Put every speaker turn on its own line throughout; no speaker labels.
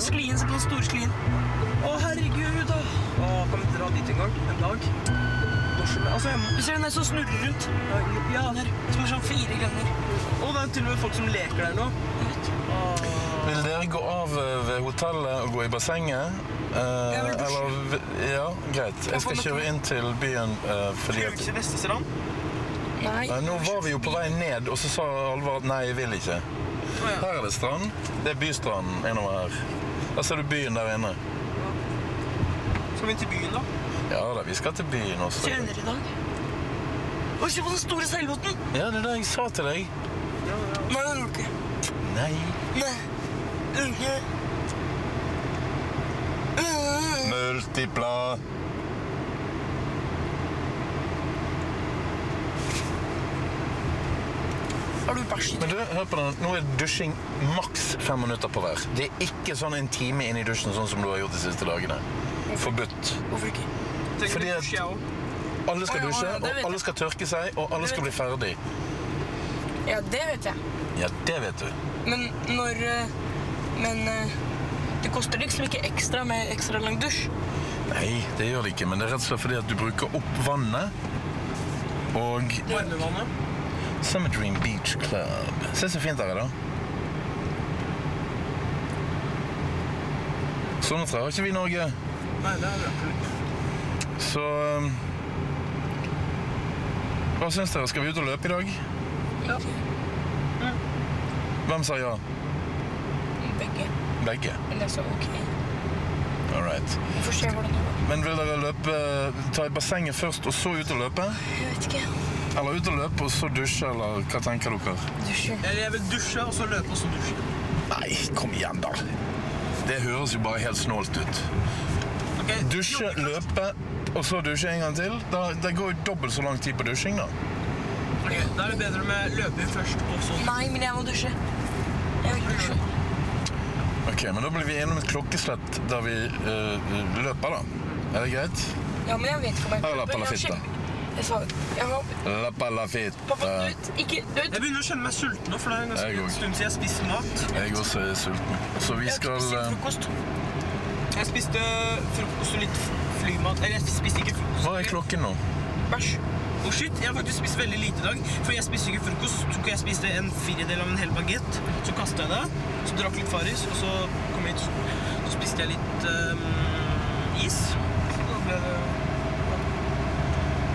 Sklien, se på den store sklien. Å, herregud, da. Å, kan vi ikke dra dit en gang? En dag? Norsk, altså, jeg må...
Du ser den der som snurrer rundt.
Ja, der.
Som er sånn fire grønner.
Å, det er til og med folk som leker der nå.
Vil dere gå av eh, ved hotellet og gå i bassenget? Eh,
Jeg vil dusje.
eller vi- Ja, greit. Jeg skal kjøre inn til byen eh, fordi
Gjør vi
at
ikke til neste strand?
Nei.
Nei, Nå var vi jo på vei ned, og så sa Alvar at nei, jeg vil ikke.
ja.
Her er det strand. Det er bystranden innover her. Der ser du byen der inne.
Skal vi til byen, da?
Ja da, vi skal til byen også.
Senere i dag. Å, se på den store seilbåten!
Ja, det er det jeg sa til deg.
Nei, det gjorde du ikke.
Nei.
Nei. Unge. Øh.
Multipla.
Har du bæsj?
Men du, hør på den. Nå er dusjing maks fem minutter på hver. Det er ikke sånn en time inn i dusjen, sånn som du har gjort de siste dagene. Forbudt.
Hvorfor ikke?
Tenker
Fordi
Fordi
at-
at... Jeg også.
Alle
Å,
skal
ja, å,
dusje,
ja, det vet
og alle
jeg.
skal tørke seg, og alle
Det
skal bli
vet
ferdig.
Ja, det vet jeg.
Ja, det vet du.
Men når eh, Men eh, det koster liksom ikke ekstra med ekstra lang dusj.
Nei, det gjør det ikke, men det er rett og slett fordi at du bruker opp vannet. Og
Varmevannet.
Summer Dream Beach Club. Se så fint der er, da. Sånne tre har ikke vi i Norge.
Nei, det er bra.
Så um, Hva syns dere? Skal vi ut og løpe i dag?
Ja.
Hvem sa ja?
Begge.
Begge.
Men det er så ok.
All right.
Vi får se hvordan det går.
Men vil dere løpe, ta i bassenget først og så ut og løpe?
Jeg vet ikke.
Eller ut og løpe og så dusje, eller hva tenker dere?
Dusjer.
Eller jeg vil dusje, og så løpe, og så dusje.
Nei, kom igjen, da. Det høres jo bare helt snålt ut.
Ok,
Dusje,
jo,
løpe og så dusje en gang til. Da, det går jo dobbelt så lang tid på dusjing, da.
ok, Da er det bedre med løpe først, og så
Nei, men jeg må dusje. Jeg vil dusje.
Ok, Men da blir vi innom et klokkeslett der vi eh, løper, da. Er det greit?
Ja, men jeg vet ikke om jeg
Eller
Men jeg
palafitta.
sjekker- Jeg sa jeg må,
Lappa la
Pappa,
fitta.
ut! Ikke ut!
Jeg begynner å kjenne meg sulten nå, for det er nesten
Jeg går.
en stund siden jeg spiste mat.
Jeg også er sulten. Så vi
Jeg skal
skal
spise
eh,
frokost.
Jeg spiste frokost og litt flymat. Eller jeg spiste ikke frokost.
Hva er klokken nå?
Bæsj.
Å, Oh, shit, jeg har faktisk spist veldig lite i dag. For jeg spiste ikke frokost. så tok Jeg spiste en firedel av en hel bagett. Så kasta jeg det. Så drakk litt Farris, og så kom jeg hit. Så spiste jeg litt ehm, is. Så da ble det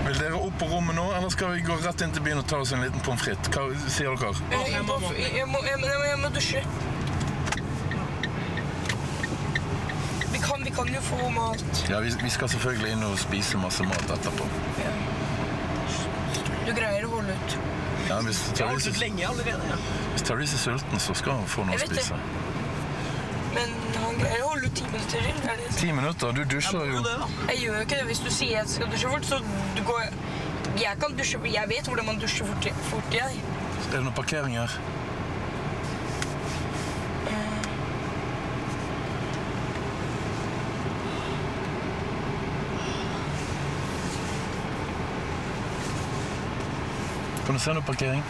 Vil dere opp på rommet nå, eller skal vi gå rett inn til byen og ta oss en liten pommes frites? Hva sier dere?
Jeg, jeg, må, jeg, må, jeg, må, jeg må dusje. Vi kan, vi kan jo få mat.
Ja, vi, vi skal selvfølgelig inn og spise masse mat etterpå.
Du greier å holde ut.
Ja, hvis
Jeg har holdt
Therese,
ut lenge allerede. Ja.
hvis Therese er sulten, så skal hun få noe å
Jeg vet det.
spise.
Men han greier å holde ut ti minutter til. Er det?
Ti minutter. Du dusjer
Jeg må
jo.
jo det, da.
Jeg gjør jo ikke det hvis du sier jeg skal dusje fort, så du går jeg- Jeg kan dusje Jeg vet hvordan man dusjer fort, fort jeg.
Er det noen parkering her? Kan du se noe parkering?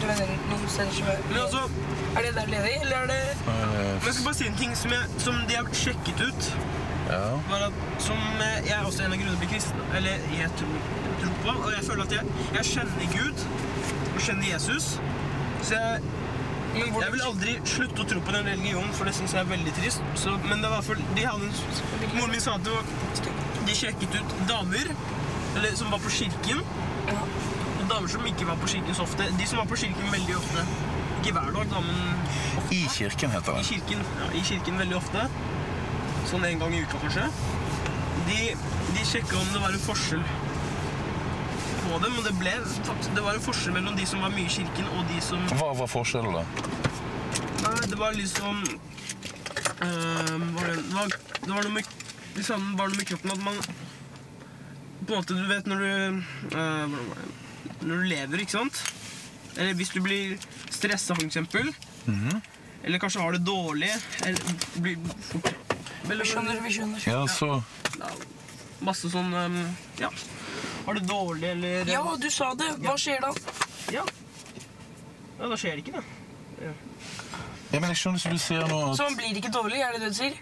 Du mener noen steder som er
Men altså,
Er det der ledig, eller er det
Eh,
jeg skal bare si en ting som, jeg, som de har sjekket ut.
Ja.
var at som eh, jeg er også en av grunnene til kristen, eller jeg tror, tror på, og jeg føler at jeg, jeg kjenner Gud og kjenner Jesus. Så jeg,
Men
jeg vil aldri slutte å tro på den religionen, for det syns jeg er veldig trist. Så, men det var for, de hadde en, moren min sa at det var, de sjekket ut damer eller, som var på kirken,
Ja.
og damer som ikke var på kirken så ofte. De som var på kirken veldig ofte. Ikke hver dag, da, men ofte.
I kirken heter
I
det.
kirken, ja, I kirken veldig ofte. Sånn en gang i uka, kanskje. De, de sjekka om det var en forskjell på dem, og det ble fakt- Det var en forskjell mellom de som var mye i kirken, og de som
Hva var forskjellen da?
Nei, det var liksom ehm, var det, det, var, det var noe med Det samme var noe med kroppen at man På en måte, du vet når du eh, Hvordan var det Når du lever, ikke sant? Eller hvis du blir stressa, for eksempel. Eller kanskje har det dårlig. Eller blir fort
Vi skjønner, vi skjønner.
Ja, så...
Ja, Masse sånn ehm, Ja. Har det dårlig, eller
Ja, du sa det. Hva skjer da?
ja. Ja, Da skjer det ikke, det. Ja.
Ja, men jeg skjønner som du sier nå at
Så man blir ikke dårlig, er det det du sier?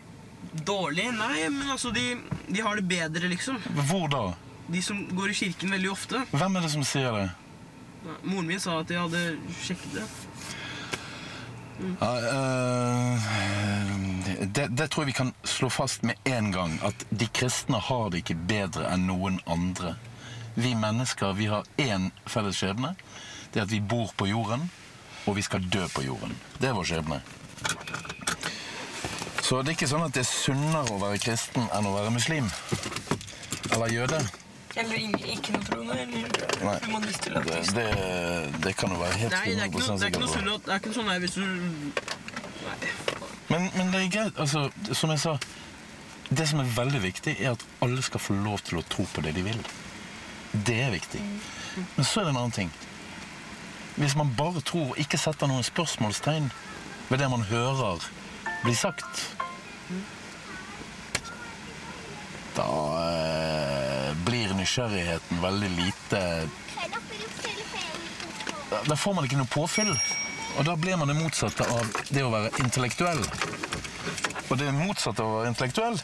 Dårlig? Nei, men altså, de, de har det bedre, liksom.
Hvor da?
De som går i kirken veldig ofte.
Hvem er det som sier det?
Nei, Moren min sa at jeg hadde sjekket det.
Ja, eh, det, det tror jeg vi kan slå fast med en gang, at de kristne har det ikke bedre enn noen andre. Vi mennesker vi har én felles skjebne. Det er at vi bor på jorden, og vi skal dø på jorden. Det er vår skjebne. Så det er ikke sånn at det er sunnere å være kristen enn å være muslim. Eller jøde.
Eller ing- ikke noe troende,
Nei.
eller humanist eller
Det,
ateist.
det, det kan du være helt
Nei, det er ikke noe,
100%
det er ikke
sikker
noe
på.
sunn at- Det er ikke noe sånn her hvis du Nei.
Men, men det er greit, altså, som jeg sa Det som er veldig viktig, er at alle skal få lov til å tro på det de vil. Det er viktig. Men så er det en annen ting. Hvis man bare tror, og ikke setter noen spørsmålstegn ved det man hører bli sagt Da eh, blir nysgjerrigheten veldig lite Da da får man ikke noe påfyll. Og da blir man det motsatte av det å være intellektuell. Og det motsatte av å være intellektuell,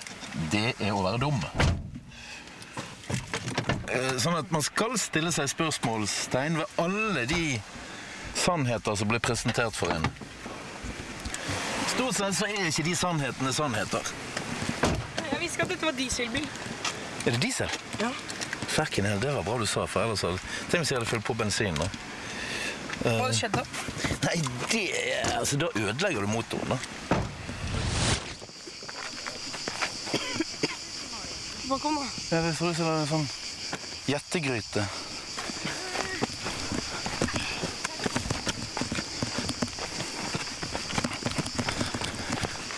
det er å være dum. Eh, Sånn at man skal stille seg spørsmålstegn ved alle de sannheter som blir presentert for en. Stort sett så er ikke de sannhetene sannheter.
Jeg visste ikke at dette var dieselbil.
Eh. Er det diesel?
Ja.
Ferken, det var bra du sa, for ellers hadde Tenk hvis jeg hadde fylt på bensin, da.
Hva hadde skjedd da?
Nei, det Altså, da ødelegger du motoren, da.
Hva kom da?
Ja, det ser ut som det er en sånn gjettegryte.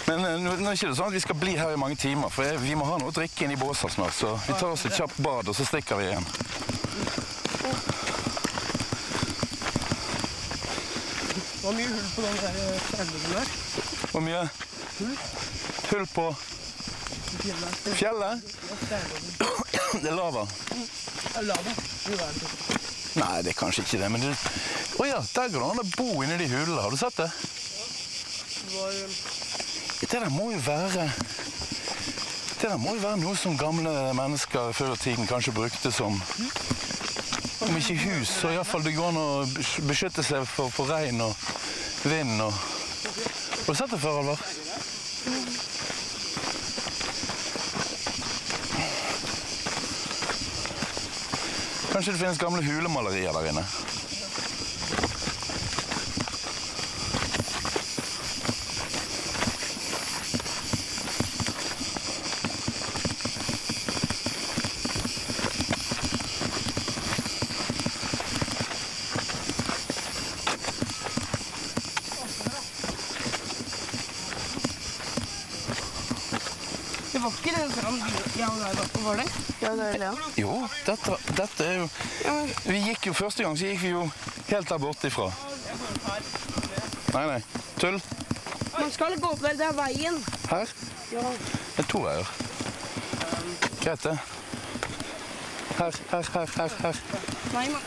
Men eh, nå nå er det ikke det sånn at vi skal bli her i mange timer, for jeg, vi må ha noe å drikke inn i båsa snart. Så vi tar oss et kjapt bad, og så stikker vi igjen.
Det var mye hull på den der eh, elven der.
Hvor mye hull på
Fjellet.
fjellet? Det er lava.
Jeg la det. Jo, det er det.
Nei, det er kanskje ikke det, men det Å ja, der går det an å bo inni de hulene. Har du sett det?
Det var, eh,
Det der må jo være Det der må jo være noe som gamle mennesker før i tiden kanskje brukte som Om ikke hus, så iallfall det går an å besky- beskytte seg for, for regn og vind og Har du sett det før, Alvar? Kanskje det finnes gamle hulemalerier der inne.
Det var ikke den fram jeg og deg var på, var det?
Ja, det er det, ja.
Jo, dette, var- dette er jo Vi gikk jo første gang, så gikk vi jo helt der borte ifra. Nei, nei. Tull.
Man skal gå opp der, det er veien.
Her?
Ja.
Det er to veier. Greit, det. Her, her, her, her. her.
Nei, man...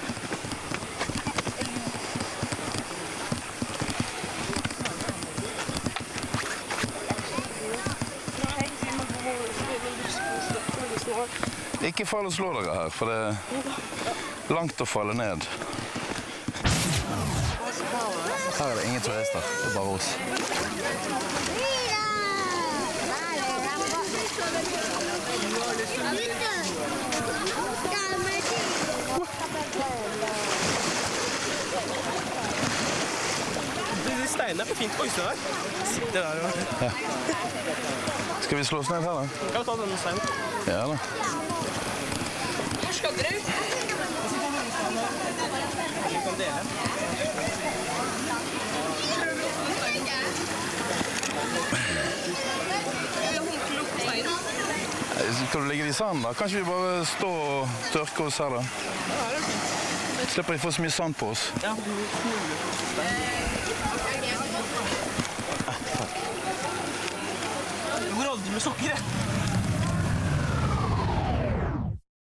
Ikke fall og slå dere her, for det er langt å falle ned. Her er det ingen turister. Det er bare oss.
Du, de steinene er for fint Oi, se der. Sitter der og
Skal vi slå oss ned her, da?
Kan vi ta denne steinen?
Ja da.
Hvor skal dere?
Vi kan dele.
Skal du ligge i sanden, da? Kan ikke vi bare stå og tørke oss her, da? Slipper de å få så mye sand på oss.
Ja. Hvor holdt du med sokker, jeg?